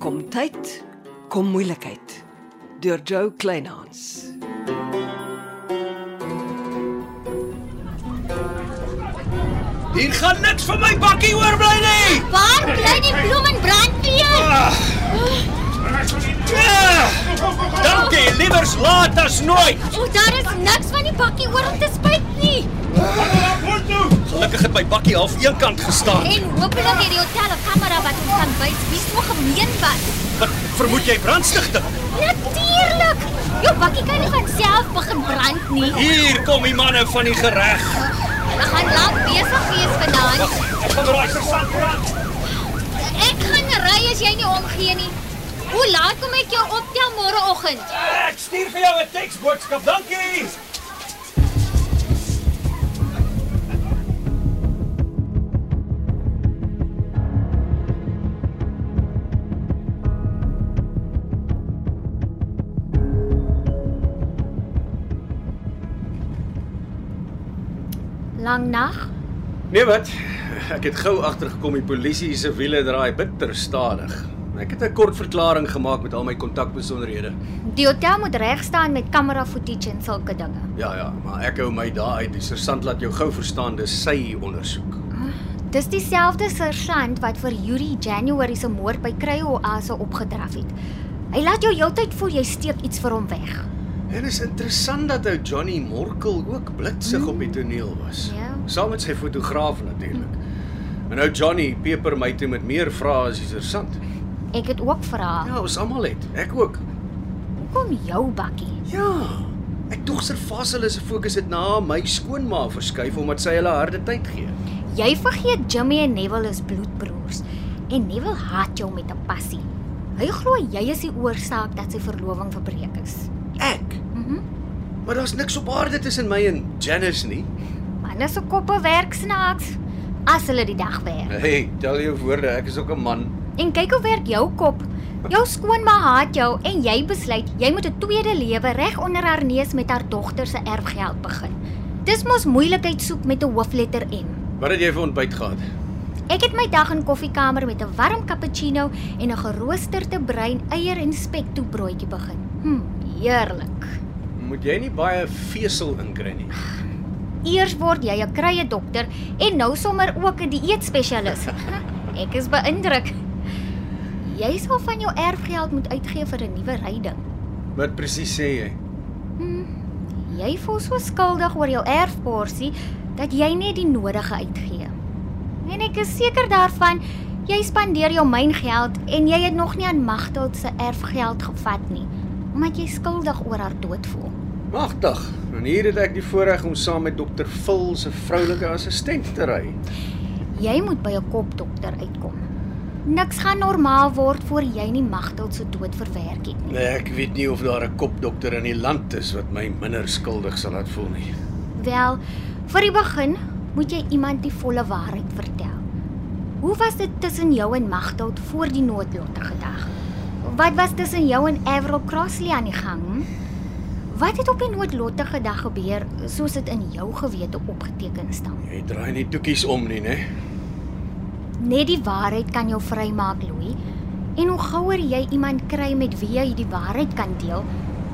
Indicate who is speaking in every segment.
Speaker 1: Gesondheid kom moeilikheid deur Joe Kleinhans.
Speaker 2: Hier gaan niks van my bakkie oorbly nie.
Speaker 3: Waar bly die bloem en brandweer?
Speaker 2: Ah. Ja, Dankie, liewers laat as nooit.
Speaker 3: O, Oh, daar is niks van die bakkie oor om te spyt nie.
Speaker 2: Gelukkig het my bakkie half eenkant gestaan.
Speaker 3: En hopelik het die hotel 'n kamera wat ons kan wys wie so gemeen was.
Speaker 2: Wat vermoed jy brandstigting?
Speaker 3: Natuurlik. Jou bakkie kan nie van self begin brand nie.
Speaker 2: Hier kom die manne van die gereg.
Speaker 3: Hulle gaan lank besig wees vanaand.
Speaker 2: Ek gaan raai vir sandbrand.
Speaker 3: Ek gaan ry as jy nie omgee nie. Hoe laat kom ek jou optel môreoggend?
Speaker 2: Ek stuur vir jou 'n teksboodskap. Dankie.
Speaker 3: Lang nag.
Speaker 2: Nee wat? Ek het gou agtergekom die polisie se wiele draai bitter stadig. Ek het 'n kort verklaring gemaak met al my kontakbesonderhede.
Speaker 3: Die hotel moet reg staan met kamera footage en sulke dinge.
Speaker 2: Ja ja, maar ek hou my daai uit. Die sergeant laat jou gou verstaan dis sy ondersoek.
Speaker 3: Dis dieselfde sergeant wat vir Yuri January se moord by Kryo Oase opgedraf het. Hy laat jou heeltyd voel jy steek iets vir hom weg.
Speaker 2: En is interessant dat ou Johnny Morkel ook blitsig op die toneel was.
Speaker 3: Ja.
Speaker 2: Saam met sy fotograaf natuurlik. En nou Johnny peper my toe met meer vrae as die sergeant.
Speaker 3: Ek het ook vra,
Speaker 2: Ja, ons almal het. Ek ook.
Speaker 3: hoekom jou bakkie?
Speaker 2: Ja. Ek dog Sir Vasil se fokus het na my skoonma verskuif omdat sy hulle harde tyd gee.
Speaker 3: Jy vergeet Jimmy en Neville is bloedbroers en Neville haat jou met 'n passie. Hy glo jy is die oorsaak dat sy verloving verbreek is.
Speaker 2: Ek.
Speaker 3: Mhm.
Speaker 2: Maar daar's niks op aarde tussen my en Janice nie.
Speaker 3: Manne se koppe werk snaaks as hulle die dag werk.
Speaker 2: Hey, tel jou woorde, ek is ook 'n man.
Speaker 3: En kyk hoe werk jou kop. Jou skoonma haat jou en jy besluit jy moet 'n tweede lewe reg onder haar neus met haar dogter se erfgeld begin. Dis mos moeilikheid soek met 'n hoofletter M.
Speaker 2: Wat het jy vir ontbyt gehad?
Speaker 3: Ek het my dag in koffiekamer met 'n warm cappuccino en 'n geroosterde bruin eier en spek toebroodjie begin. Hm, heerlik.
Speaker 2: Moet jy nie baie vesel inkry nie.
Speaker 3: Eers word jy 'n krye dokter en nou sommer ook 'n dieetspesialis. Hm, Ek is beïndruk. Jy sal van jou erfgeld moet uitgee vir 'n nuwe ryding.
Speaker 2: Wat presies sê jy?
Speaker 3: Hmm, jy voel so skuldig oor jou erfporsie dat jy net die nodige uitgee. En ek is seker daarvan jy spandeer jou myngeld en jy het nog nie aan Magdalt se erfgeld gevat nie, omdat jy skuldig oor haar dood voel.
Speaker 2: Magtig. En hier het ek die voorreg om saam met dokter Phil se vroulike assistent te ry.
Speaker 3: Jy moet by 'n kopdokter uitkom. Niks gaan normaal word voor jy nie Magdalt se dood verwerk het nie.
Speaker 2: Nee, ek weet nie of daar 'n kopdokter in die land is wat my minder skuldig sal laat voel nie.
Speaker 3: Wel, vir die begin moet jy iemand die volle waarheid vertel. Hoe was dit tussen jou en Magdalt voor die noodlottige dag? Wat was tussen jou en Avril Crossley aan die gang? hm? Wat het op die noodlottige dag gebeur soos dit in jou gewete opgeteken staan?
Speaker 2: Jy draai nie toekies om nie, nee. né?
Speaker 3: Net die waarheid kan jou vrymaak, Louis. En hoe gouer jy iemand kry met wie jy die waarheid kan deel,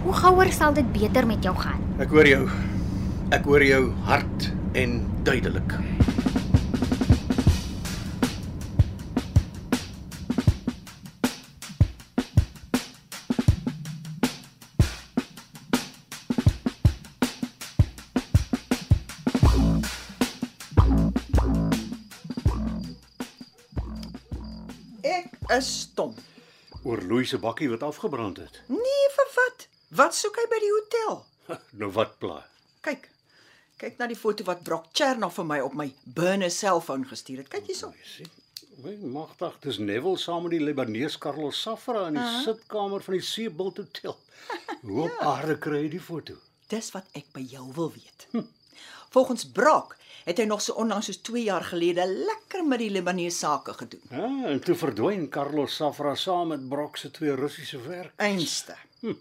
Speaker 3: hoe gouer sal dit beter met jou gaan.
Speaker 2: Ek hoor jou. Ek hoor jou hard en duidelik.
Speaker 4: Ek is stom.
Speaker 5: Oor Louis se bakkie wat afgebrand het.
Speaker 4: Nee, vir wat? Wat soek hy by die hotel?
Speaker 5: Nou wat pla?
Speaker 4: Kyk. Kyk na die foto wat Brock Cherna vir my op my burner selfoon gestuur het. Kyk hierso.
Speaker 5: My magtig, dis Neville saam met die Libanees Carlos Safra in die uh -huh. sitkamer van die Seebult Hotel. Hoe op ja. aarde kry jy die foto?
Speaker 4: Dis wat ek by jou wil weet. Hm. Volgens Brock het hy nog so onlangs soos 2 jaar gelede lekker met die Libanees sake gedoen.
Speaker 5: Ah, en toe verdwyn Carlos Safra saam met Brock se twee Russiese werk.
Speaker 4: Einste. Hm.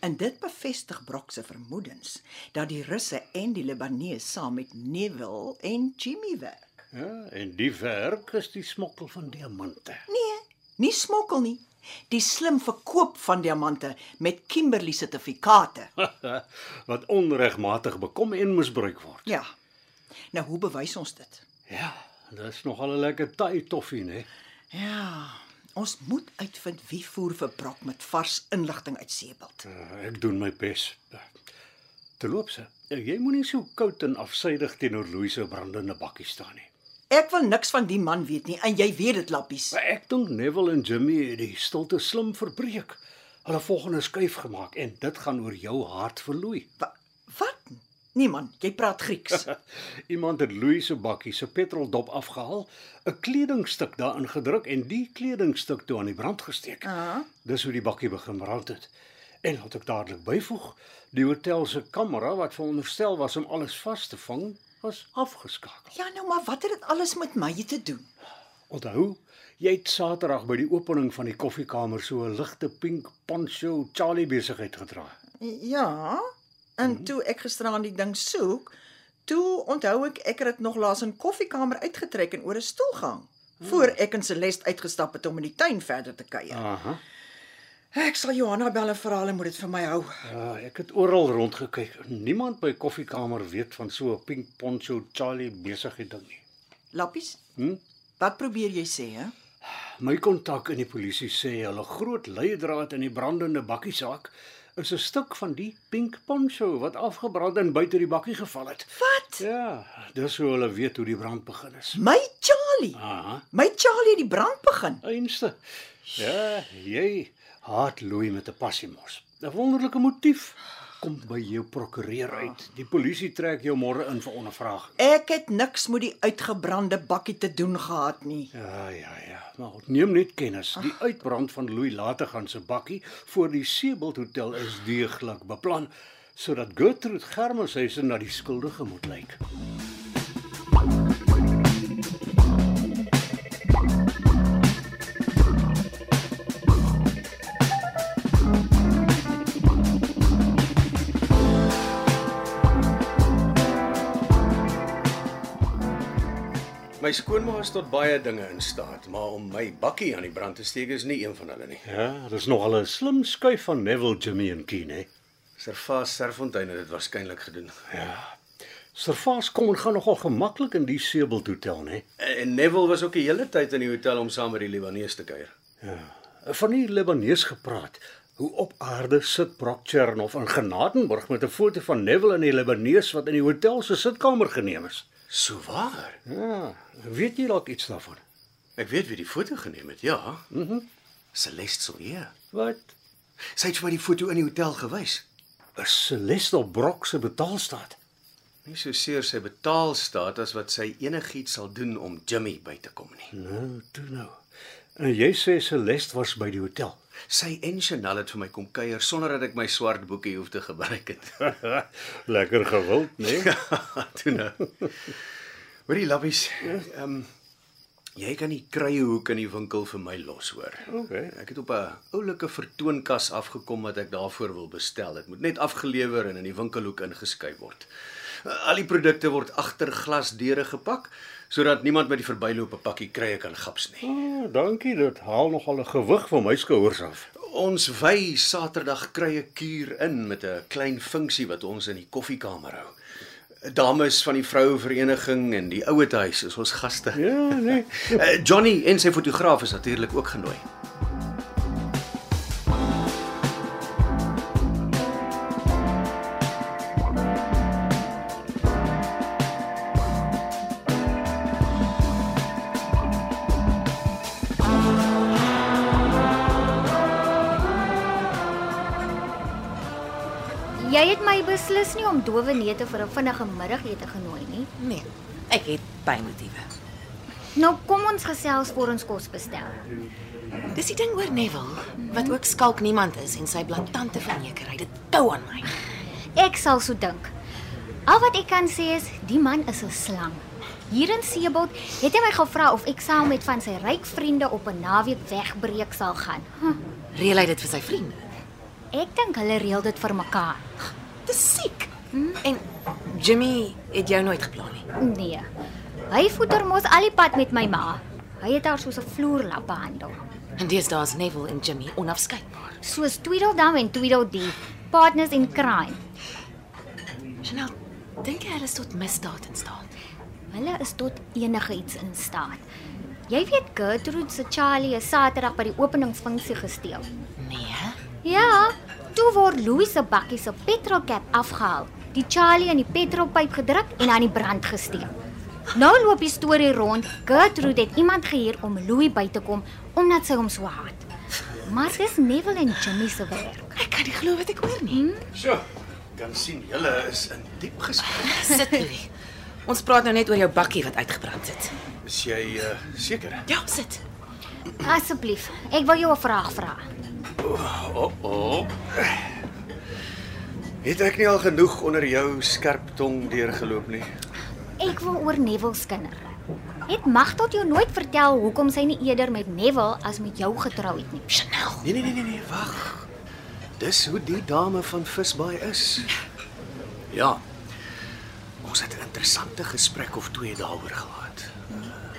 Speaker 4: En dit bevestig Brock se vermoedens dat die Russe en die Libanees saam met Neville en Jimmy werk.
Speaker 5: Ja, en die werk is die smokkel van diamante.
Speaker 4: Nee, nie smokkel nie. die slim verkoop van diamante met Kimberley sertifikate.
Speaker 5: wat onregmatig bekom en misbruik word.
Speaker 4: Ja. Nou hoe bewys ons dit?
Speaker 5: Ja, dis nogal 'n lekker taai toffie, né?
Speaker 4: Ja, ons moet uitvind wie voer vir Brok met vars inligting uit Seebald.
Speaker 5: Eh, Ek doen my bes. Terloops, eh, jy moenie so koud en afsydig teenoor Louise se brandende bakkie staan nie.
Speaker 4: Ek wil niks van die man weet nie en jy weet dit lappies.
Speaker 5: Maar Ek dink Neville en Jimmy het die stilte slim verbreek. Hulle volgende skuif gemaak en dit gaan oor jou hart verloei.
Speaker 4: Wa wat? Nee man, jy praat Grieks.
Speaker 5: Iemand het Louis se bakkie se petroldop afgehaal, 'n kledingstuk daarin gedruk en die kledingstuk toe aan die brand gesteek.
Speaker 4: Ah.
Speaker 5: Dis hoe die bakkie begin brand het. En laat ek dadelik byvoeg, die hotel se kamera wat veronderstel was om alles vas te vang, was afgeskakel.
Speaker 4: Ja nou, maar wat het dit alles met my te doen?
Speaker 5: Onthou, jy het Saterdag by die opening van die koffiekamer so 'n ligte pink poncho Charlie besigheid gedra.
Speaker 4: Ja. En
Speaker 5: Mm.
Speaker 4: toe ek gisteraan die ding soek, toe onthou ek ek het dit nog laas in koffiekamer uitgetrek en oor 'n stoel gehang
Speaker 5: Ah.
Speaker 4: voor ek in Celeste uitgestap het om in die tuin verder te kuier.
Speaker 5: Aha.
Speaker 4: Ek sal Johanna bel en vra hulle moet dit vir my hou.
Speaker 5: Ja, ek het oral rondgekyk. Niemand by koffiekamer weet van so 'n pink poncho Charlie besigheid ding nie.
Speaker 4: Lappies?
Speaker 5: Hm?
Speaker 4: Wat probeer jy sê, hè?
Speaker 5: My kontak in die polisie sê hulle groot leidraad in die brandende bakkie saak is 'n stuk van die pink poncho wat afgebrand en buite die bakkie geval het.
Speaker 4: Wat?
Speaker 5: Ja, dis hoe hulle weet hoe die brand begin is.
Speaker 4: My Charlie.
Speaker 5: Aha,
Speaker 4: My Charlie het die brand begin.
Speaker 5: einste. Ja, jy haat Louis met 'n passie mos. 'n Wonderlike motief kom by jou prokureur uit. Die polisie trek jou môre in vir ondervraging.
Speaker 4: Ek het niks met die uitgebrande bakkie te doen gehad nie.
Speaker 5: Ja, ja, ja. Maar neem net kennis. Die uitbrand van Louis later gaan se bakkie voor die Seebald Hotel is deeglik beplan sodat Gertrude Germeshuisen na die skuldige moet lyk.
Speaker 2: My skoonma is tot baie dinge in staat, maar om my bakkie aan die brand te steek is nie een van hulle nie.
Speaker 5: Ja, dis nogal 'n slim skuif van Neville Jimmy en Keen, hè.
Speaker 2: Servaas Serfontein het dit waarskynlik gedoen.
Speaker 5: Ja. Servaas kom en gaan nogal gemaklik in die Seebald Hotel, hè.
Speaker 2: En Neville was ook die hele tyd in die hotel om saam met die Libanees te kuier.
Speaker 5: Ja. Van die Libanees gepraat. Hoe op aarde sit Brock Chernoff in Genadenburg met 'n foto van Neville en die Libanees wat in die hotel se sitkamer geneem is.
Speaker 2: Sou waar.
Speaker 5: Ja, weet jy dalk iets daarvan?
Speaker 2: Ek weet wie die foto geneem het, ja. Mhm. Mm Celeste Silje.
Speaker 5: Wat?
Speaker 2: Sy het vir my die foto in die hotel gewys.
Speaker 5: Is Celeste op Brock se betaalstaat?
Speaker 2: Nie so seer sy betaalstaat as wat sy enigiets sal doen om Jimmy by te kom nie.
Speaker 5: Nou, toe nou. En jy sê Celeste was by die hotel.
Speaker 2: Sy en Chanel het vir my kom kuier sonder dat ek my swart boekie hoef te gebruik het.
Speaker 5: Lekker gewild, né? Nee?
Speaker 2: Toe nou. Hoorie Lappies, ehm um, jy kan die kruiehoek in die winkel vir my los hoor.
Speaker 5: Okay.
Speaker 2: Ek het op 'n oulike vertoonkas afgekom wat ek daarvoor wil bestel. Dit moet net afgelewer en in die winkelhoek ingeskuif word. Eh, Al die produkte word agter glasdeure gepak sodat niemand by die verbyloop 'n pakkie krye kan gaps nie.
Speaker 5: Oh, dankie, dit haal nogal 'n gewig van my skouers af.
Speaker 2: Ons wy Saterdag krye kuur in met 'n klein funksie wat ons in die koffiekamer hou. Dames van die vrouevereniging en die ouetehuis is ons gaste.
Speaker 5: Ja, nee.
Speaker 2: Eh, Johnny en sy fotograaf is natuurlik ook genooi.
Speaker 3: Jy het my beslis nie om dowe neete vir 'n vinnige middagete genooi nie.
Speaker 6: Nee, ek het pynmotiewe.
Speaker 3: Nou kom ons gesels voor ons kos bestel.
Speaker 6: Dis die ding oor Neville wat ook skalk niemand is en sy blaatante vernekerheid. Dit tou aan my.
Speaker 3: Ek sal so dink. Al wat ek kan sê is die man is 'n slang. Hier in Seebald het hy my gevra of ek saam met van sy ryk vriende op 'n naweek wegbreek sal gaan. Hm,
Speaker 6: Reël hy dit vir sy vriende?
Speaker 3: ek dink hulle reël dit vir mekaar.
Speaker 6: Dis siek. Hmm? En Jimmy het jou nooit geplan nie.
Speaker 3: Nee. Hy voeder mos al die pad met my ma. Hy het haar soos 'n vloerlap behandel.
Speaker 6: En deesdae is Neville en Jimmy onafskeidbaar.
Speaker 3: soos Tweedledum en Tweedledee, partners in crime.
Speaker 6: Chanel, dink jy hulle is tot misdaad in staat?
Speaker 3: Hulle is tot enige iets in staat. Jy weet Gertrude se Charlie is Saterdag by die openingsfunksie gesteel.
Speaker 6: Nee. hè?
Speaker 3: Ja, toe word Louis se bakkie se petrolkap afgehaal, die Charlie in die petrolpyp gedruk en aan die brand gesteek. Nou loop die storie rond, Gertrude het iemand gehuur om Louis by te kom omdat sy hom so haat. Maar dis Neville en Jimmy se werk.
Speaker 6: Ek kan nie glo wat ek hoor nie.
Speaker 2: So, kan sien julle is in diep gesprek.
Speaker 6: Sit Louis. Ons praat nou net oor jou bakkie wat uitgebrand het.
Speaker 2: Is jy uh, seker?
Speaker 6: Ja, sit.
Speaker 3: Asseblief, ek wil jou 'n vraag vra.
Speaker 2: O, oh, o. Oh. Het ek nie al genoeg onder jou skerp tong deurgeloop nie?
Speaker 3: Ek wil oor Neville se kinders. Het Magtot jou nooit vertel hoekom sy nie eerder met Neville as met jou getrou het nie?
Speaker 6: Chanel.
Speaker 2: Nee nee nee nee, nee wag. Dis hoe die dame van Visbaai is. Ja. Ons het 'n interessante gesprek of twee daaroor gehad.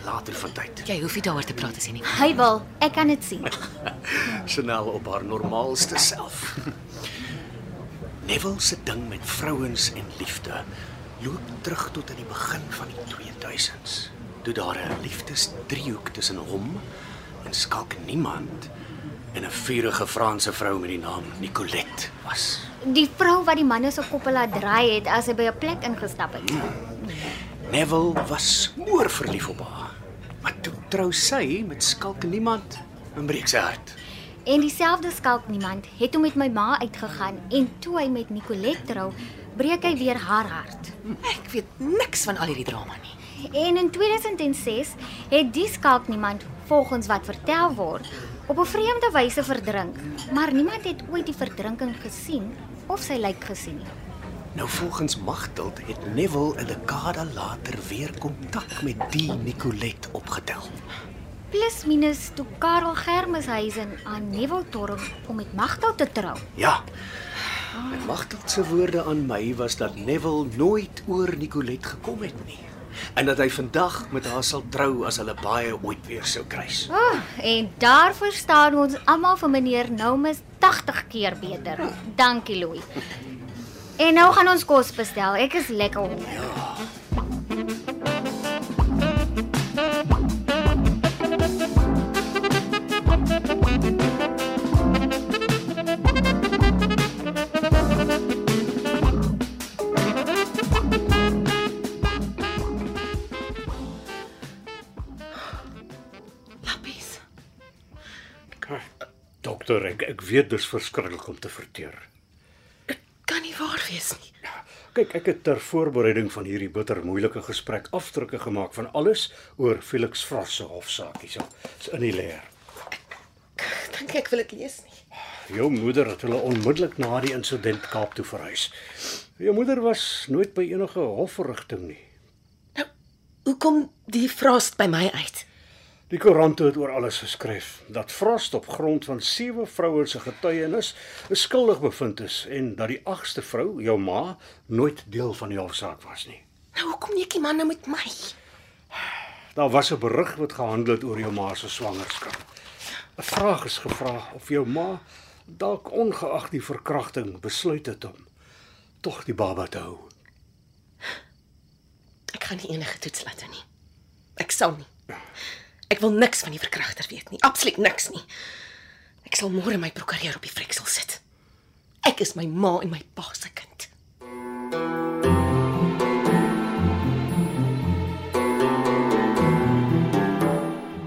Speaker 2: Later van tyd.
Speaker 6: Jy hoef nie daaroor te praat as jy nie.
Speaker 3: Hy wil, ek kan dit sien.
Speaker 2: Chanel op haar normaalste self. Neville se ding met vrouens en liefde loop terug tot aan die begin van die 2000s. Toe daar 'n liefdesdriehoek tussen hom en skalk niemand en 'n vurige Franse vrou met die naam Nicolette was.
Speaker 3: Die vrou wat die manne se koppe laat draai het as hy by 'n plek ingestap het.
Speaker 2: Neville was moer verlief op haar. Maar toe trou sy met skalk niemand en breek sy hart.
Speaker 3: En dieselfde skalk niemand het hom met my ma uitgegaan en toe hy met Nicolette trou, breek hy weer haar hart.
Speaker 6: Ek weet niks van al hierdie drama nie.
Speaker 3: En in 2006 het die skalk niemand volgens wat vertel word op 'n vreemde wyse verdrink, maar niemand het ooit die verdrinking gesien of sy lijk gesien nie.
Speaker 2: Nou volgens Magdalt het Neville 'n dekade later weer kontak met die Nicolette opgetel.
Speaker 3: Plus minus toe Karel Germeshuisen aan Neville Torp om met Magda te trou.
Speaker 2: Ja. En Magdalt se woorde aan my was dat Neville nooit oor Nicolette gekom het nie en dat hy vandag met haar sal trou as hulle baie ooit weer sou kruis.
Speaker 3: Oh, en daar verstaan ons almal van meneer Noumus 80 keer beter. Dankie Louis. En nou gaan ons kos bestel. Ek is lekker honger.
Speaker 6: Lappies.
Speaker 5: Dokter, ek ek weet dis verskriklik om te verteer. Ja,
Speaker 6: Kan nie waar wees nie.
Speaker 5: Kyk, ek het ter voorbereiding van hierdie bitter moeilike gesprek aftrekke gemaak van alles oor Felix Frost se hofsaak hierso. Dis in die leer.
Speaker 6: Dink ek wil dit lees nie.
Speaker 5: Jou moeder het hulle onmiddellik na die insident Kaap toe verhuis. Jou moeder was nooit by enige hofverrigting nie.
Speaker 6: Hoe kom die frost by my uit?
Speaker 5: Die koerante het oor alles geskryf dat Frost op grond van sewe vroue se getuienis skuldig bevind is en dat die agste vrou, jou ma, nooit deel van die hofsaak was nie.
Speaker 6: Nou hoekom netjie man nou met my?
Speaker 5: Daar was 'n berig wat gehandel het oor jou ma se swangerskap. 'n Vraag is gevra of jou ma dalk ongeag die verkrachting besluit het om tog die baba te hou.
Speaker 6: Ek gaan nie enige toets laat doen nie. Ek sal nie. Ek wil niks van die verkragter weet nie. Absoluut niks nie. Ek sal môre my prokureur op die vreksel sit. Ek is my ma en my pa se kind.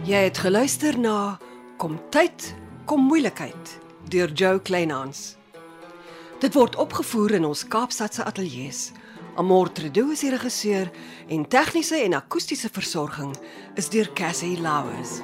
Speaker 1: Jy het geluister na Kom tyd, kom moeilikheid deur Jo Kleinhans. Dit word opgevoer in ons Kaapstadse ateljee se. Amortredo is die regisseur en tegniese en akoestiese versorging is deur Cassie Lauers.